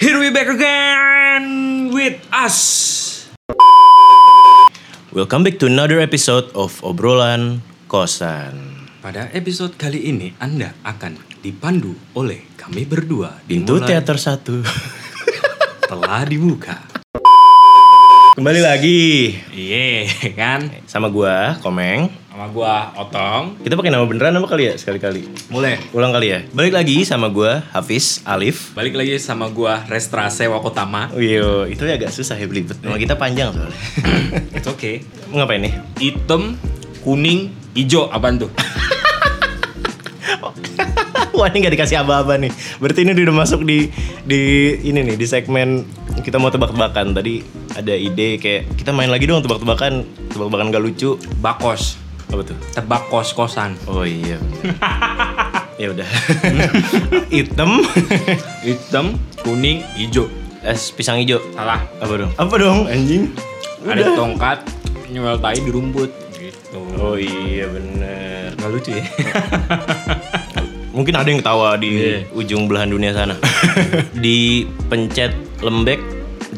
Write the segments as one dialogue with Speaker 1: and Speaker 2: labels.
Speaker 1: Here we back again with us.
Speaker 2: Welcome back to another episode of Obrolan Kosan.
Speaker 1: Pada episode kali ini Anda akan dipandu oleh kami berdua di
Speaker 2: Pintu
Speaker 1: mulai
Speaker 2: teater satu.
Speaker 1: telah dibuka.
Speaker 2: Kembali lagi
Speaker 1: Iya kan?
Speaker 2: sama gua Komeng.
Speaker 1: Sama gua Otong.
Speaker 2: Kita pakai nama beneran apa kali ya sekali-kali?
Speaker 1: Mulai.
Speaker 2: Ulang kali ya. Balik lagi sama gua Hafiz Alif.
Speaker 1: Balik lagi sama gua Restra Sewa Kotama.
Speaker 2: Yo, Oh itu agak susah ya belibet. Nama kita panjang soalnya.
Speaker 1: It's okay.
Speaker 2: Mau ngapain nih?
Speaker 1: Hitam, kuning, ijo apaan tuh?
Speaker 2: Wah ini gak dikasih aba-aba nih Berarti ini udah masuk di di ini nih di segmen kita mau tebak-tebakan Tadi ada ide kayak kita main lagi dong tebak-tebakan Tebak-tebakan gak lucu
Speaker 1: Bakos.
Speaker 2: Apa tuh?
Speaker 1: Tebak kos-kosan.
Speaker 2: Oh iya bener. Ya udah Hitam
Speaker 1: Hitam, kuning, ijo.
Speaker 2: Es pisang hijau
Speaker 1: Salah.
Speaker 2: Apa dong? Apa dong anjing?
Speaker 1: Ada tongkat nyuel tai di rumput gitu.
Speaker 2: Oh iya bener
Speaker 1: Nggak lucu ya?
Speaker 2: Mungkin ada yang ketawa di
Speaker 1: Iya.
Speaker 2: ujung belahan dunia sana Di pencet lembek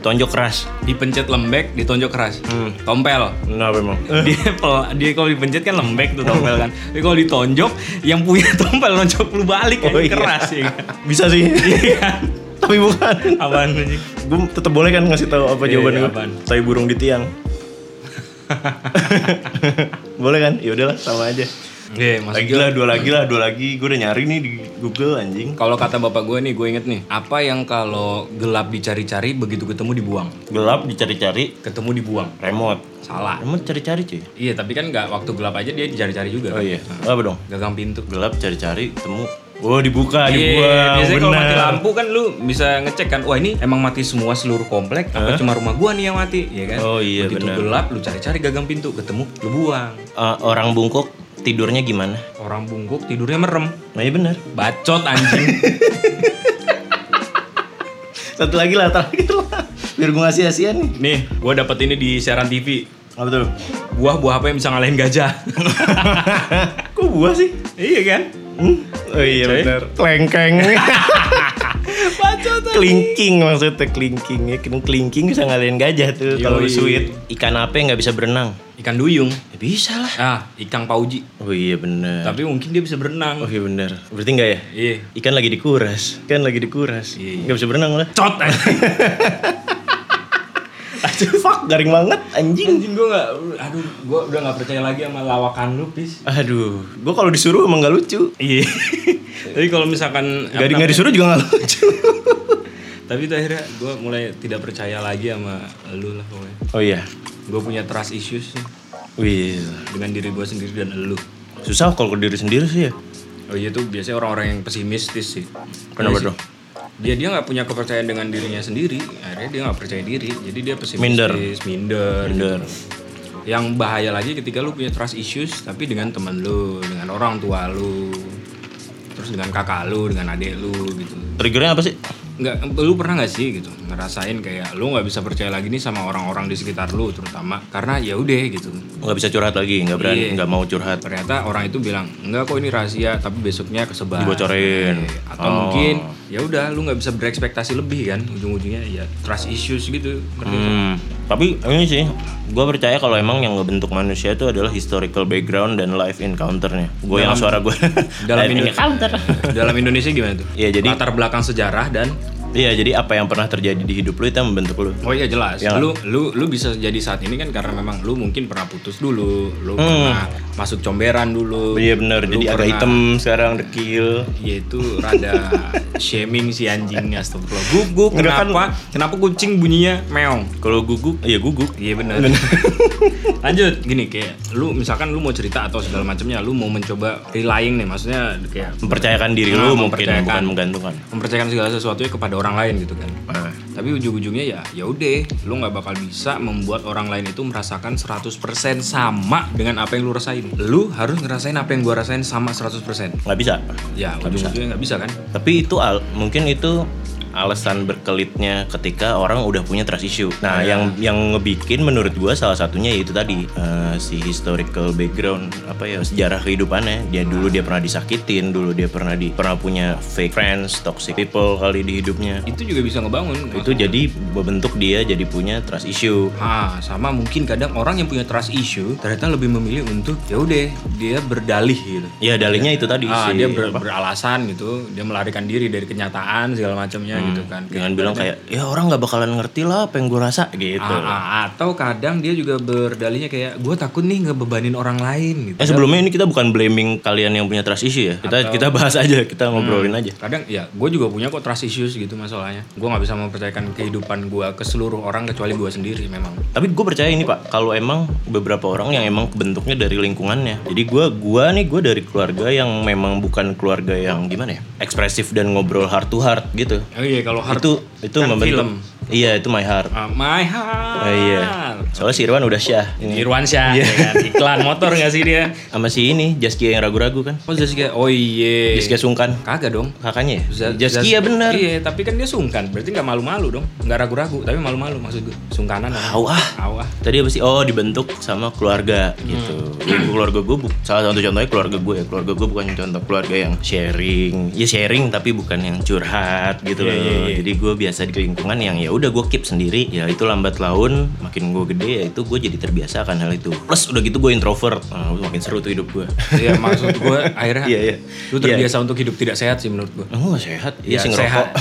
Speaker 2: ditonjok keras
Speaker 1: dipencet lembek, ditonjok keras.
Speaker 2: Hmm.
Speaker 1: Tompel.
Speaker 2: Kenapa emang?
Speaker 1: Dia pel- dia kalau dipencet kan lembek tuh tompel kan. Tapi kalau ditonjok, yang punya tompel lonjok lu balik kan
Speaker 2: Oh, iya. kan?
Speaker 1: keras ya. kan?
Speaker 2: Bisa sih Tapi bukan
Speaker 1: Apaan anjing?
Speaker 2: gue tetap boleh kan ngasih tahu apa
Speaker 1: Iya,
Speaker 2: jawaban
Speaker 1: iya,
Speaker 2: gue
Speaker 1: apaan?
Speaker 2: tai burung di tiang boleh kan ya udahlah sama aja
Speaker 1: Oke, Mas
Speaker 2: lagi
Speaker 1: Gil.
Speaker 2: lah dua lagi lah dua lagi gue udah nyari nih di Google anjing
Speaker 1: Kalau kata bapak gue nih, gue inget nih. Apa yang kalau gelap dicari-cari, begitu ketemu dibuang?
Speaker 2: gelap dicari-cari
Speaker 1: Ketemu dibuang.
Speaker 2: remote
Speaker 1: Salah.
Speaker 2: remote cari-cari cuy
Speaker 1: Iya, tapi kan nggak waktu gelap aja dia dicari-cari juga. kan?
Speaker 2: oh iya apa dong
Speaker 1: Gagang pintu.
Speaker 2: gelap cari-cari temu Wah
Speaker 1: Iya,
Speaker 2: dibuka, dibuang,
Speaker 1: biasanya kalau mati
Speaker 2: bener.
Speaker 1: lampu kan lu bisa ngecek kan, wah ini emang mati semua seluruh komplek, apa cuma rumah gua nih yang mati, ya kan?
Speaker 2: Oh iya,
Speaker 1: Begitu
Speaker 2: benar.
Speaker 1: gelap, lu cari-cari gagang pintu, ketemu, lu buang.
Speaker 2: Eh, orang bungkuk tidurnya gimana?
Speaker 1: Orang bungkuk tidurnya merem,
Speaker 2: Nah iya bener
Speaker 1: bacot anjing.
Speaker 2: Satu lagi lah, satu lagi lah Biar gue ngasih asian nih
Speaker 1: nih, gua dapat ini di siaran TV.
Speaker 2: Apa tuh?
Speaker 1: Buah-buah apa yang bisa ngalahin gajah?
Speaker 2: Kok buah sih?
Speaker 1: iya kan?
Speaker 2: Hmm? Oh iya
Speaker 1: Coy.
Speaker 2: bener Klengkeng
Speaker 1: Bacot.
Speaker 2: Kelingking maksudnya kelingking ya kelingking bisa ngalahin gajah tuh kalau
Speaker 1: Yoi.
Speaker 2: sweet ikan apa yang nggak bisa berenang
Speaker 1: Ikan duyung.
Speaker 2: ya bisa lah
Speaker 1: Ah, ikan pauji.
Speaker 2: oh iya bener
Speaker 1: Tapi mungkin dia bisa berenang.
Speaker 2: oh iya bener berarti nggak ya
Speaker 1: Iya.
Speaker 2: ikan lagi dikuras ikan lagi dikuras
Speaker 1: Iya, iya.
Speaker 2: nggak bisa berenang lah
Speaker 1: Cot anjing.
Speaker 2: Aduh, fuck garing banget anjing
Speaker 1: anjing gua nggak, aduh, gua udah nggak percaya lagi sama lawakan lu, Pis.
Speaker 2: aduh gua kalau disuruh emang nggak lucu
Speaker 1: Iya. Tapi kalau misalkan
Speaker 2: nggak
Speaker 1: apa
Speaker 2: di- nggak
Speaker 1: namanya-
Speaker 2: disuruh juga nggak lucu
Speaker 1: Tapi itu akhirnya gue mulai tidak percaya lagi sama lu lah pokoknya.
Speaker 2: oh iya
Speaker 1: Gue punya trust issues sih
Speaker 2: wih
Speaker 1: dengan diri gue sendiri dan lu.
Speaker 2: susah kalau ke diri sendiri sih ya
Speaker 1: Oh iya tuh biasanya orang-orang yang pesimistis sih.
Speaker 2: Kenapa
Speaker 1: Iya sih.
Speaker 2: dong?
Speaker 1: Dia dia nggak punya kepercayaan dengan dirinya sendiri. Akhirnya dia nggak percaya diri. Jadi dia pesimistis,
Speaker 2: Minder.
Speaker 1: minder.
Speaker 2: Minder.
Speaker 1: Yang bahaya lagi ketika lu punya trust issues tapi dengan teman lu, dengan orang tua lu, terus dengan kakak lu, dengan adik lu gitu.
Speaker 2: triggernya apa sih
Speaker 1: nggak lu pernah nggak sih gitu ngerasain kayak lu nggak bisa percaya lagi nih sama orang-orang di sekitar lu terutama karena ya udah gitu
Speaker 2: nggak bisa curhat lagi nggak
Speaker 1: Iya.
Speaker 2: berani nggak mau curhat
Speaker 1: ternyata orang itu bilang enggak kok ini rahasia tapi besoknya kesebar
Speaker 2: Dibocorin.
Speaker 1: Eh, atau
Speaker 2: Oh.
Speaker 1: mungkin ya udah lu nggak bisa berekspektasi lebih kan ujung-ujungnya ya trust issues gitu Ngerti?
Speaker 2: Hmm, tapi ini sih, gue percaya kalau emang yang ngebentuk manusia itu adalah historical background dan life encounter-nya. Gue yang suara gue.
Speaker 1: dalam
Speaker 2: Life
Speaker 1: Indonesia dalam Indonesia gimana tuh
Speaker 2: Iya, jadi-
Speaker 1: latar belakang sejarah dan
Speaker 2: Iya, jadi apa yang pernah terjadi di hidup lu itu yang membentuk lu.
Speaker 1: Oh iya jelas.
Speaker 2: Iya.
Speaker 1: Lu lu lu bisa jadi saat ini kan karena memang lu mungkin pernah putus dulu, lu pernah masuk comberan dulu.
Speaker 2: Hmm. Iya
Speaker 1: Oh,
Speaker 2: bener,
Speaker 1: lu
Speaker 2: jadi agak
Speaker 1: pernah-
Speaker 2: hitam sekarang dekil.
Speaker 1: yaitu rada shaming si anjingnya astagfirullah guguk
Speaker 2: Enggak kan-
Speaker 1: kenapa kenapa kucing bunyinya meong
Speaker 2: Kalau guguk, iya guguk.
Speaker 1: iya benar lanjut gini kayak lu misalkan lu mau cerita atau segala macamnya lu mau mencoba relying nih maksudnya kayak
Speaker 2: Mempercayakan diri
Speaker 1: Nah,
Speaker 2: lu mungkin
Speaker 1: mempercayakan.
Speaker 2: bukan menggantungkan.
Speaker 1: mempercayakan segala sesuatunya kepada orang lain gitu kan
Speaker 2: Nah,
Speaker 1: tapi ujung-ujungnya ya ya udah lu nggak bakal bisa membuat orang lain itu merasakan 100% sama dengan apa yang lu rasain lu harus ngerasain apa yang gua rasain sama 100%
Speaker 2: nggak bisa.
Speaker 1: ya ujung-ujungnya nggak bisa kan
Speaker 2: Tapi itu al, mungkin itu alasan berkelitnya ketika orang udah punya trust issue. Nah,
Speaker 1: Iya.
Speaker 2: yang yang ngebikin menurut gua salah satunya yaitu tadi eh, si historical background apa ya sejarah kehidupannya. Dia dulu dia pernah disakitin, dulu dia pernah di pernah punya fake friends, toxic people kali di hidupnya.
Speaker 1: itu juga bisa ngebangun
Speaker 2: Itu jadi membentuk dia jadi punya trust issue.
Speaker 1: Ah, sama mungkin kadang orang yang punya trust issue ternyata lebih memilih untuk ya udah dia berdalih gitu.
Speaker 2: Ya dalihnya itu tadi
Speaker 1: Ah,
Speaker 2: si-
Speaker 1: dia ber- beralasan gitu, dia melarikan diri dari kenyataan segala macamnya gitu kan. Kayak
Speaker 2: dengan bilang kayak ya orang nggak bakalan ngerti lah apa yang gue rasa gitu.
Speaker 1: Ah, ah, atau kadang dia juga berdalihnya kayak gue takut nih ngebebanin orang lain gitu.
Speaker 2: Eh sebelumnya ini kita bukan blaming kalian yang punya trust issue ya. Kita kita bahas aja, kita
Speaker 1: Hmm.
Speaker 2: ngobrolin aja.
Speaker 1: Kadang ya gue juga punya kok trust issues gitu masalahnya. Gue nggak bisa mempercayakan kehidupan gue ke seluruh orang kecuali gue sendiri memang.
Speaker 2: Tapi gue percaya ini pak, kalau emang beberapa orang yang emang bentuknya dari lingkungannya. Jadi gue gua nih gue dari keluarga yang memang bukan keluarga yang gimana ya, ekspresif dan ngobrol heart to heart gitu.
Speaker 1: Oh iya kalau hard
Speaker 2: Itu itu
Speaker 1: Kan
Speaker 2: membentuk.
Speaker 1: film.
Speaker 2: Iya itu my heart.
Speaker 1: Ah, my heart.
Speaker 2: Eh, Iya. Soalnya si Irwan udah syah ini.
Speaker 1: Irwansyah ya kan? iklan motor nggak sih dia?
Speaker 2: Sama si ini Jaskia yang ragu-ragu kan.
Speaker 1: Oh Zaskia, oh iya.
Speaker 2: Jaskia sungkan.
Speaker 1: Kagak dong.
Speaker 2: Kakaknya ya?
Speaker 1: Zaz-
Speaker 2: Jaskia
Speaker 1: Zaz-
Speaker 2: bener.
Speaker 1: Iya, tapi kan dia sungkan. Berarti nggak malu-malu dong. Nggak ragu-ragu, tapi malu-malu maksud gue. Sungkanan. lah.
Speaker 2: Tahu ah.
Speaker 1: Awah.
Speaker 2: Tadi apa sih? Oh dibentuk sama keluarga gitu. Jadi keluarga gue bu- salah satu contohnya keluarga gue ya. Keluarga gue bukan contoh keluarga yang sharing. Ya sharing tapi bukan yang curhat gitu loh. Jadi gue biasa di lingkungan yang ya udah gue keep sendiri. Ya itu lambat laun makin gue gede ya itu gue jadi terbiasa akan hal itu. Plus udah gitu gue introvert. Nah, makin seru tuh hidup gue.
Speaker 1: Iya, maksud gue akhirnya
Speaker 2: Iya, iya.
Speaker 1: lu terbiasa untuk hidup tidak sehat sih menurut gue.
Speaker 2: Oh sehat. Iya sih
Speaker 1: sehat.
Speaker 2: ngerokok.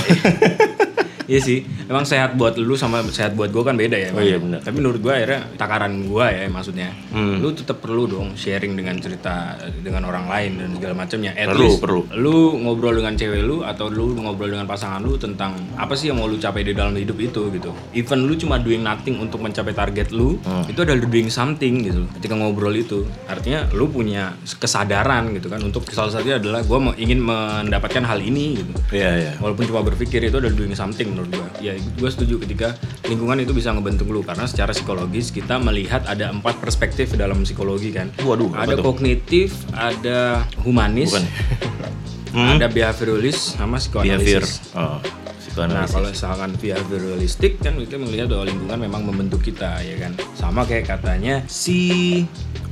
Speaker 1: Iya sih, emang sehat buat lu sama sehat buat gue kan beda ya.
Speaker 2: Oh
Speaker 1: Bang.
Speaker 2: iya, benar.
Speaker 1: Tapi menurut gue akhirnya takaran gue ya maksudnya,
Speaker 2: Hmm.
Speaker 1: lu tetap perlu dong sharing dengan cerita dengan orang lain dan segala macamnya. At
Speaker 2: Perlu,
Speaker 1: least
Speaker 2: perlu.
Speaker 1: Lu ngobrol dengan cewek lu atau lu ngobrol dengan pasangan lu tentang apa sih yang mau lu capai di dalam hidup itu gitu. Even lu cuma doing nothing untuk mencapai target lu,
Speaker 2: Hmm.
Speaker 1: itu adalah doing something gitu. Ketika ngobrol itu, artinya lu punya kesadaran gitu kan untuk salah satunya adalah gue mau ingin mendapatkan hal ini gitu
Speaker 2: Iya iya.
Speaker 1: walaupun cuma berpikir itu adalah doing something menurut gua ya gua setuju ketika lingkungan itu bisa ngebentuk lu karena secara psikologis kita melihat ada empat perspektif dalam psikologi kan
Speaker 2: Waduh, apa
Speaker 1: ada
Speaker 2: tuh?
Speaker 1: kognitif ada humanis
Speaker 2: Bukan. Hmm?
Speaker 1: ada behavioralist sama
Speaker 2: Behavior.
Speaker 1: psikoanalisis
Speaker 2: Oh.
Speaker 1: Nah,
Speaker 2: psikoanalisis.
Speaker 1: kalau misalkan behavioralistik kan kita melihat bahwa lingkungan memang membentuk kita ya kan. Sama kayak katanya si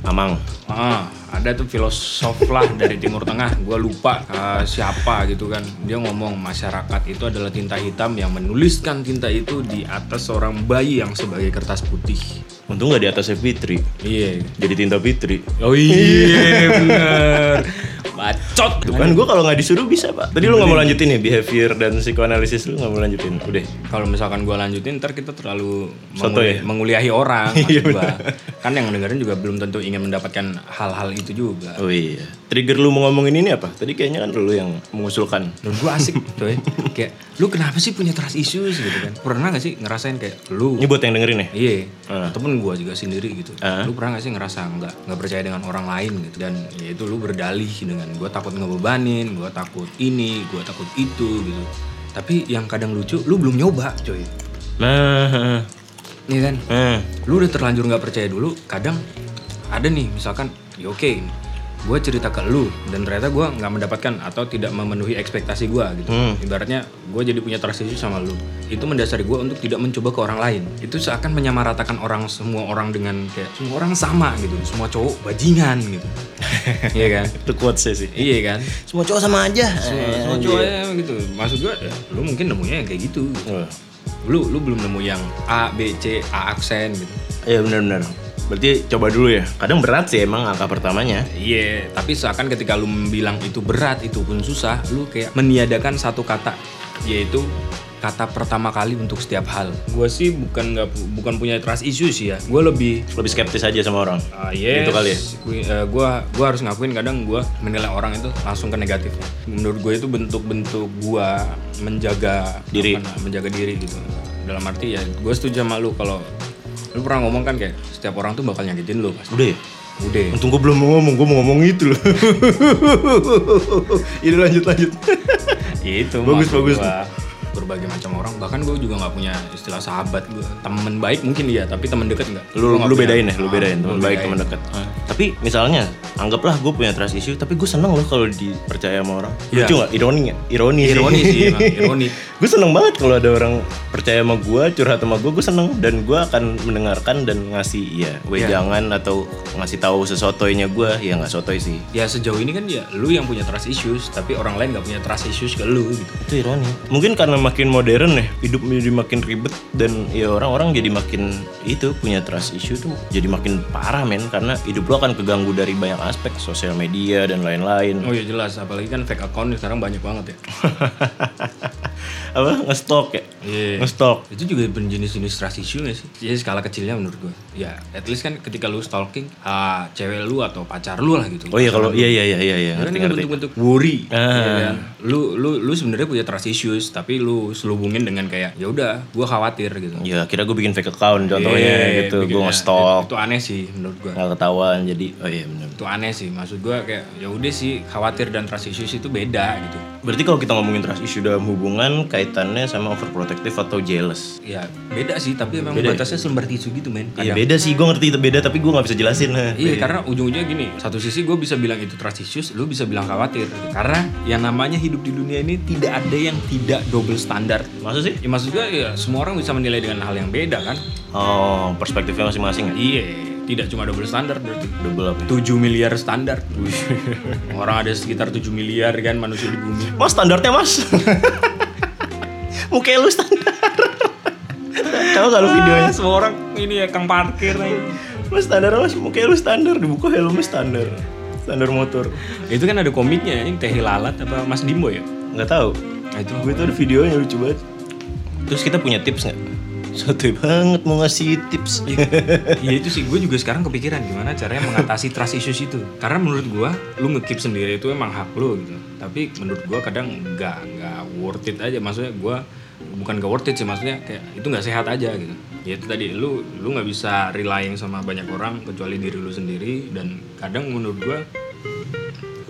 Speaker 2: Amang.
Speaker 1: Ah, ada tuh filosof lah dari Timur Tengah, gue lupa eh, siapa gitu kan. Dia ngomong masyarakat itu adalah tinta hitam yang menuliskan tinta itu di atas seorang bayi yang sebagai kertas putih.
Speaker 2: Untung nggak di atasnya Fitri.
Speaker 1: Iya.
Speaker 2: Jadi tinta Fitri.
Speaker 1: Oh iya bener. Bacot tuh kan.
Speaker 2: Kan gue kalau nggak disuruh bisa pak. Tadi lu nggak mau lanjutin ya behavior dan psikoanalisis lu nggak mau lanjutin. Udah.
Speaker 1: Kalau misalkan gue lanjutin ntar kita terlalu
Speaker 2: Soto
Speaker 1: menguli-
Speaker 2: ya? Iya,
Speaker 1: menguliahi orang. maksud gua. Kan yang dengerin juga belum tentu ingin mendapatkan hal-hal itu juga.
Speaker 2: Oh iya. Trigger lu mau ngomongin ini apa? Tadi kayaknya kan lu yang mengusulkan.
Speaker 1: Menurut gue asik coy Kayak lu kenapa sih punya trust issues gitu kan Pernah gak sih ngerasain kayak lu
Speaker 2: Ini buat yang dengerin ya.
Speaker 1: Iya
Speaker 2: Ah.
Speaker 1: temen gue juga sendiri gitu
Speaker 2: Ah.
Speaker 1: Lu pernah gak sih ngerasa nggak nggak percaya dengan orang lain gitu Dan ya itu lu berdalih dengan gue takut ngebebanin Gue takut ini, gue takut itu gitu Tapi yang kadang lucu lu belum nyoba coy
Speaker 2: Nah.
Speaker 1: Iya kan
Speaker 2: Nah.
Speaker 1: lu udah terlanjur nggak percaya dulu kadang ada nih misalkan ya oke gue cerita ke lu dan ternyata gue nggak mendapatkan atau tidak memenuhi ekspektasi gue gitu ibaratnya gue jadi punya trust issue sama lu itu mendasari gue untuk tidak mencoba ke orang lain itu seakan menyamaratakan orang semua orang dengan kayak semua orang sama gitu semua cowok bajingan gitu iya kan
Speaker 2: Itu quotesnya sih.
Speaker 1: iya kan
Speaker 2: Semua cowok sama aja. Eh,
Speaker 1: semua, semua
Speaker 2: iya.
Speaker 1: cowok ya gitu maksud gue ya, lu mungkin nemunya yang kayak gitu
Speaker 2: Oh.
Speaker 1: lu lu belum nemu yang A B C A aksen gitu
Speaker 2: Iya benar-benar. Berarti coba dulu ya. Kadang berat sih emang angka pertamanya.
Speaker 1: Iya, tapi seakan ketika lu bilang itu berat, itu pun susah, lu kayak meniadakan satu kata, yaitu kata pertama kali untuk setiap hal. Gue sih bukan nggak pu- bukan punya trust issues ya. Gue lebih
Speaker 2: Lebih skeptis aja sama orang.
Speaker 1: Ah, yes.
Speaker 2: Gitu kali ya?
Speaker 1: Gue gua harus ngakuin kadang gua menilai orang itu langsung ke negatifnya. Menurut gue itu bentuk-bentuk gua menjaga
Speaker 2: Diri.
Speaker 1: apa na- menjaga diri gitu. Dalam arti ya gue setuju sama lu kalau lu pernah ngomong kan kayak setiap orang tuh bakal nyakitin lu pasti.
Speaker 2: Udah ya.
Speaker 1: Udah.
Speaker 2: Untung gue belum mau ngomong, gue mau ngomong itu loh. Ini lanjut lanjut.
Speaker 1: Ya itu
Speaker 2: Bagus,
Speaker 1: maksud
Speaker 2: bagus.
Speaker 1: gua. berbagai macam orang bahkan gue juga nggak punya istilah sahabat gue temen baik mungkin iya tapi temen deket nggak
Speaker 2: lu
Speaker 1: Gua nggak
Speaker 2: lu
Speaker 1: punya.
Speaker 2: bedain ya lu
Speaker 1: Ah,
Speaker 2: bedain
Speaker 1: gua
Speaker 2: teman baik teman dekat
Speaker 1: Ah.
Speaker 2: tapi misalnya anggaplah gue punya trust issue tapi gue seneng loh kalau dipercaya sama orang
Speaker 1: Iya.
Speaker 2: lucu nggak ironi nggak ironi sih.
Speaker 1: ironi sih emang, ironi
Speaker 2: gue seneng banget kalau ada orang percaya sama gue curhat sama gue gue seneng dan gue akan mendengarkan dan ngasih
Speaker 1: Iya.
Speaker 2: ya wejangan atau ngasih tahu sesotoynya gue ya nggak sotoy sih
Speaker 1: ya sejauh ini kan ya lu yang punya trust issues tapi orang lain nggak punya trust issues ke lu gitu
Speaker 2: itu ironi mungkin karena makin modern ya hidup jadi makin ribet dan ya orang-orang jadi makin itu punya trust issue tuh jadi makin parah men karena hidup lo akan keganggu dari banyak aspek sosial media dan lain-lain
Speaker 1: oh ya jelas apalagi kan fake account sekarang banyak banget ya
Speaker 2: apa ngestok ya
Speaker 1: Iya.
Speaker 2: ngestok
Speaker 1: itu juga jenis-jenis trust issue gak sih? Jadi skala kecilnya menurut gue. Ya, at least kan ketika lu stalking ah, cewek lu atau pacar lu lah gitu.
Speaker 2: oh iya kalau iya iya iya iya iya
Speaker 1: Ya kan itu
Speaker 2: ngerti ngerti
Speaker 1: bentuk-bentuk worry.
Speaker 2: Ah.
Speaker 1: ya kan? Lu lu lu sebenarnya punya trust issues, tapi lu selubungin dengan kayak ya udah, gue khawatir gitu.
Speaker 2: ya kira gue bikin fake account contohnya
Speaker 1: Iya,
Speaker 2: gitu gue
Speaker 1: bikinnya.
Speaker 2: ngestok
Speaker 1: Itu aneh sih menurut gue.
Speaker 2: nggak ketahuan jadi oh iya benar
Speaker 1: Itu aneh sih, maksud gue kayak ya udah sih khawatir dan trust issues itu beda gitu.
Speaker 2: berarti kalau kita ngomongin trust issue dalam hubungan kaitannya sama overprotective atau jealous
Speaker 1: Ya beda sih, tapi memang
Speaker 2: Beda ya?
Speaker 1: batasnya selembar tisu gitu men.
Speaker 2: Iya beda sih, gue ngerti itu beda tapi gue nggak bisa jelasin.
Speaker 1: Iya karena ujung-ujungnya gini satu sisi gue bisa bilang itu trust issues lu bisa bilang khawatir karena yang namanya hidup di dunia ini tidak ada yang tidak double standar
Speaker 2: Maksud sih?
Speaker 1: ya maksud gue ya semua orang bisa menilai dengan hal yang beda kan
Speaker 2: Oh, perspektifnya masing-masing ya?
Speaker 1: iya tidak cuma double standar berarti
Speaker 2: Double apa ya?
Speaker 1: 7 miliar standar orang ada sekitar 7 miliar kan manusia di bumi
Speaker 2: Mas Oh, standarnya mas? Mukanya lu standar. Tahu gak lu videonya?
Speaker 1: Ah, semua orang ini ya kang parkir nih
Speaker 2: Mas standar mas, mukanya lu standar. Di buku helmnya standar. Standar motor.
Speaker 1: itu kan ada komiknya ini teh lalat apa mas dimbo ya
Speaker 2: Nggak tahu.
Speaker 1: nah, itu
Speaker 2: Gue tuh ada videonya lucu banget. Terus kita punya tips nggak? Sotoy banget mau ngasih tips.
Speaker 1: Iya itu sih, gue juga sekarang kepikiran gimana caranya mengatasi trust issues itu. Karena menurut gue, lu ngekeep sendiri itu emang hak lu gitu. Tapi menurut gue kadang nggak nggak worth it aja. Maksudnya gue bukan gak worth it sih, maksudnya kayak itu nggak sehat aja gitu. Ya itu tadi lu lu nggak bisa relying sama banyak orang kecuali diri lu sendiri. Dan kadang menurut gue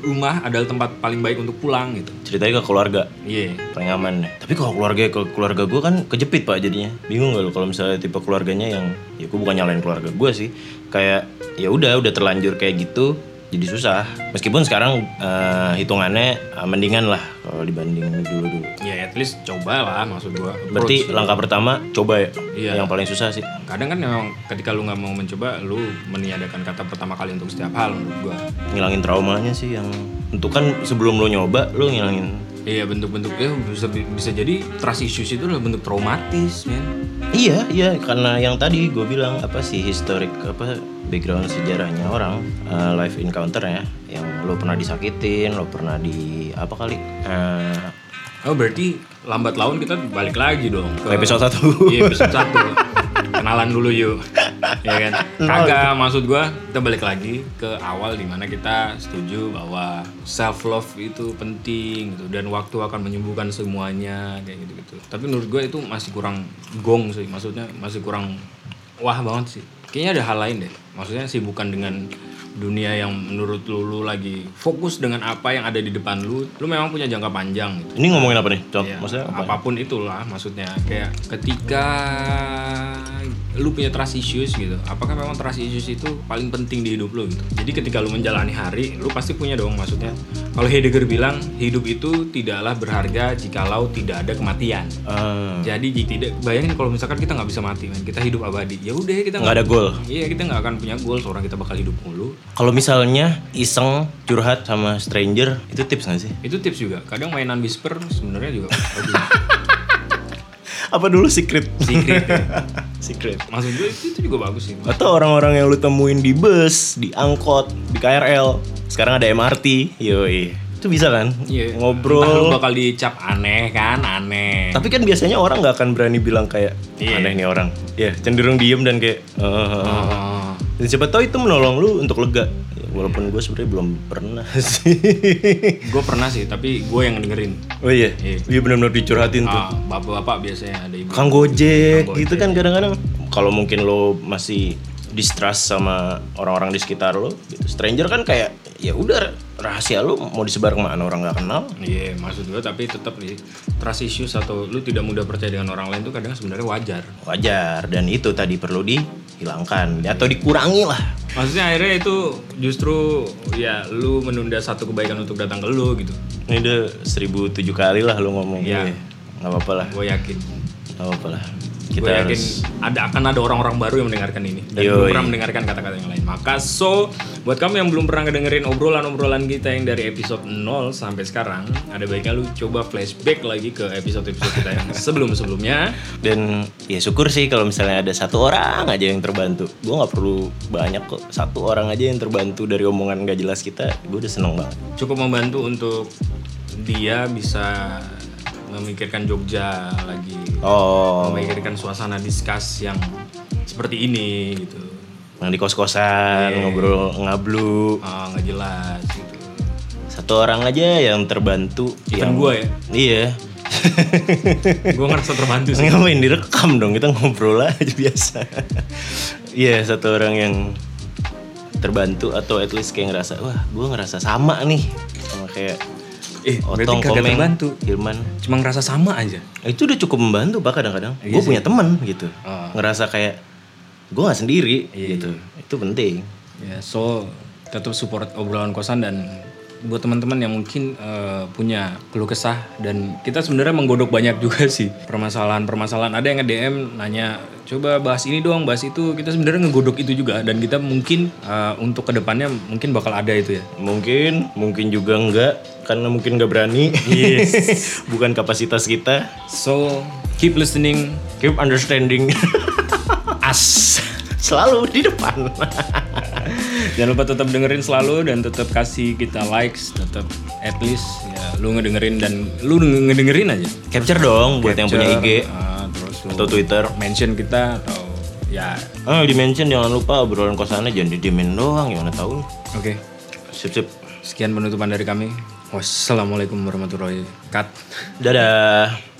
Speaker 1: rumah adalah tempat paling baik untuk pulang gitu.
Speaker 2: Ceritanya ke keluarga.
Speaker 1: Iya.
Speaker 2: paling aman ya. Tapi kalau keluarga kalau keluarga gue kan kejepit pak jadinya. Bingung gak lo kalau misalnya tipe keluarganya yang ya gue bukan nyalain keluarga gue sih. Kayak ya udah udah terlanjur kayak gitu jadi susah. Meskipun sekarang eh, hitungannya eh, mendingan lah kalau dibanding dulu dulu.
Speaker 1: Ya at least coba lah maksud gue.
Speaker 2: Berarti langkah pertama coba ya.
Speaker 1: Iya.
Speaker 2: Yang paling susah sih.
Speaker 1: kadang kan memang ketika lu nggak mau mencoba lu meniadakan kata pertama kali untuk setiap hal menurut gua
Speaker 2: Ngilangin traumanya sih yang itu kan sebelum lo nyoba lo ngilangin.
Speaker 1: iya bentuk-bentuknya bisa bisa jadi trust issues itu adalah bentuk traumatis men
Speaker 2: Iya iya karena yang tadi gue bilang apa sih historik apa background sejarahnya orang eh, life encounter ya yang lo pernah disakitin lo pernah di apa kali eh,
Speaker 1: oh berarti lambat laun kita balik lagi dong
Speaker 2: ke episode satu
Speaker 1: iya, episode satu kenalan dulu yuk ya kan kagak maksud gua kita balik lagi ke awal dimana kita setuju bahwa self love itu penting gitu dan waktu akan menyembuhkan semuanya kayak gitu gitu tapi menurut gua itu masih kurang gong sih maksudnya masih kurang wah banget sih kayaknya ada hal lain deh maksudnya sih bukan dengan dunia yang menurut lu, lu lagi fokus dengan apa yang ada di depan lu lu memang punya jangka panjang gitu
Speaker 2: ini ngomongin apa nih Cok?
Speaker 1: Ya,
Speaker 2: maksudnya apa?
Speaker 1: apapun itulah maksudnya kayak ketika lu punya trust issues gitu apakah memang trust issues itu paling penting di hidup lu gitu jadi ketika lu menjalani hari lu pasti punya dong maksudnya kalau Heidegger bilang hidup itu tidaklah berharga jikalau tidak ada kematian
Speaker 2: Eh,
Speaker 1: jadi jika tidak bayangin kalau misalkan kita nggak bisa mati men. kita hidup abadi ya udah kita
Speaker 2: nggak ada goal
Speaker 1: iya kita nggak akan punya goal seorang kita bakal hidup mulu
Speaker 2: kalau misalnya iseng curhat sama stranger itu tips nggak sih
Speaker 1: itu tips juga kadang mainan whisper sebenarnya juga
Speaker 2: apa dulu secret
Speaker 1: secret ya.
Speaker 2: secret
Speaker 1: maksud gue itu juga bagus sih
Speaker 2: atau orang-orang yang lu temuin di bus, di angkot, di KRL, sekarang ada MRT, yoi, itu bisa kan
Speaker 1: Iya. Entah lu
Speaker 2: ngobrol.
Speaker 1: bakal dicap aneh kan, aneh.
Speaker 2: Tapi kan biasanya orang nggak akan berani bilang kayak
Speaker 1: Iya.
Speaker 2: aneh nih orang, ya cenderung diem dan kayak. "Eh, eh, eh."
Speaker 1: Oh.
Speaker 2: Dan siapa tahu itu menolong lu untuk lega, Ya, walaupun gue sebenarnya belum pernah sih.
Speaker 1: Gue pernah sih, tapi gue yang dengerin.
Speaker 2: oh iya,
Speaker 1: Iya.
Speaker 2: dia benar-benar dicurhatin tuh.
Speaker 1: Ah, bapak-bapak biasanya ada ibu.
Speaker 2: Kang Gojek,
Speaker 1: Kang
Speaker 2: gitu kan kadang-kadang. Kalau mungkin lo masih distrust sama orang-orang di sekitar lo, gitu. stranger kan kayak ya udah rahasia lu mau disebar kemana orang nggak kenal
Speaker 1: Iya, maksud gue tapi tetap nih trust issues atau lu tidak mudah percaya dengan orang lain tuh kadang sebenarnya wajar.
Speaker 2: wajar dan itu tadi perlu dihilangkan atau dikurangi lah
Speaker 1: Maksudnya akhirnya itu justru ya lu menunda satu kebaikan untuk datang ke lu gitu.
Speaker 2: ini udah 1007 kali lah lu ngomong
Speaker 1: Iya.
Speaker 2: Iya. nggak apa-apa lah
Speaker 1: Gue yakin.
Speaker 2: nggak apa-apa lah kita
Speaker 1: Gue yakin
Speaker 2: harus
Speaker 1: ada akan ada orang-orang baru yang mendengarkan ini dan belum
Speaker 2: Yoi.
Speaker 1: pernah mendengarkan kata-kata yang lain. Maka so buat kamu yang belum pernah ngedengerin obrolan-obrolan kita yang dari episode 0 sampai sekarang, ada baiknya lu coba flashback lagi ke episode-episode kita yang sebelum-sebelumnya.
Speaker 2: dan ya syukur sih kalau misalnya ada satu orang aja yang terbantu gue nggak perlu banyak kok satu orang aja yang terbantu dari omongan gak jelas kita gue udah seneng banget
Speaker 1: cukup membantu untuk dia bisa memikirkan Jogja lagi
Speaker 2: oh
Speaker 1: memikirkan suasana diskus yang seperti ini gitu
Speaker 2: yang di kos
Speaker 1: Iya,
Speaker 2: kosan ngobrol ngablu
Speaker 1: Ah, nggak jelas gitu
Speaker 2: satu orang aja yang terbantu yang
Speaker 1: gua ya?
Speaker 2: iya
Speaker 1: gue ngerasa terbantu sih
Speaker 2: ngapain direkam dong kita ngobrol aja biasa iya satu orang yang terbantu atau at least kayak ngerasa wah gue ngerasa sama nih sama kayak
Speaker 1: eh berarti
Speaker 2: Otong,
Speaker 1: kagak
Speaker 2: Komeng,
Speaker 1: terbantu
Speaker 2: Hilman
Speaker 1: cuma ngerasa sama aja
Speaker 2: itu udah cukup membantu pak kadang-kadang
Speaker 1: Iya
Speaker 2: gue
Speaker 1: sih.
Speaker 2: punya temen gitu
Speaker 1: Ah. Iya,
Speaker 2: ngerasa kayak gue nggak sendiri gitu itu penting
Speaker 1: ya so tetap support obrolan kosan dan buat teman-teman yang mungkin eh, punya keluh kesah dan kita sebenarnya menggodok banyak juga sih permasalahan-permasalahan ada yang nge-DM nanya coba bahas ini doang bahas itu kita sebenarnya ngegodok itu juga dan kita mungkin eh, untuk kedepannya mungkin bakal ada itu ya
Speaker 2: mungkin mungkin juga enggak karena mungkin nggak berani yes. bukan kapasitas kita
Speaker 1: so keep listening
Speaker 2: keep understanding as selalu di depan
Speaker 1: jangan lupa tetap dengerin selalu dan tetap kasih kita likes tetap at least ya lu ngedengerin dan lu ngedengerin aja
Speaker 2: capture dong buat yang punya IG
Speaker 1: Ah, terus lu
Speaker 2: atau Twitter
Speaker 1: mention kita atau ya
Speaker 2: ah di mention jangan lupa obrolan kosannya jangan didemin doang ya mana tahu
Speaker 1: oke
Speaker 2: sip sip
Speaker 1: sekian penutupan dari kami wassalamualaikum warahmatullahi wabarakatuh
Speaker 2: dadah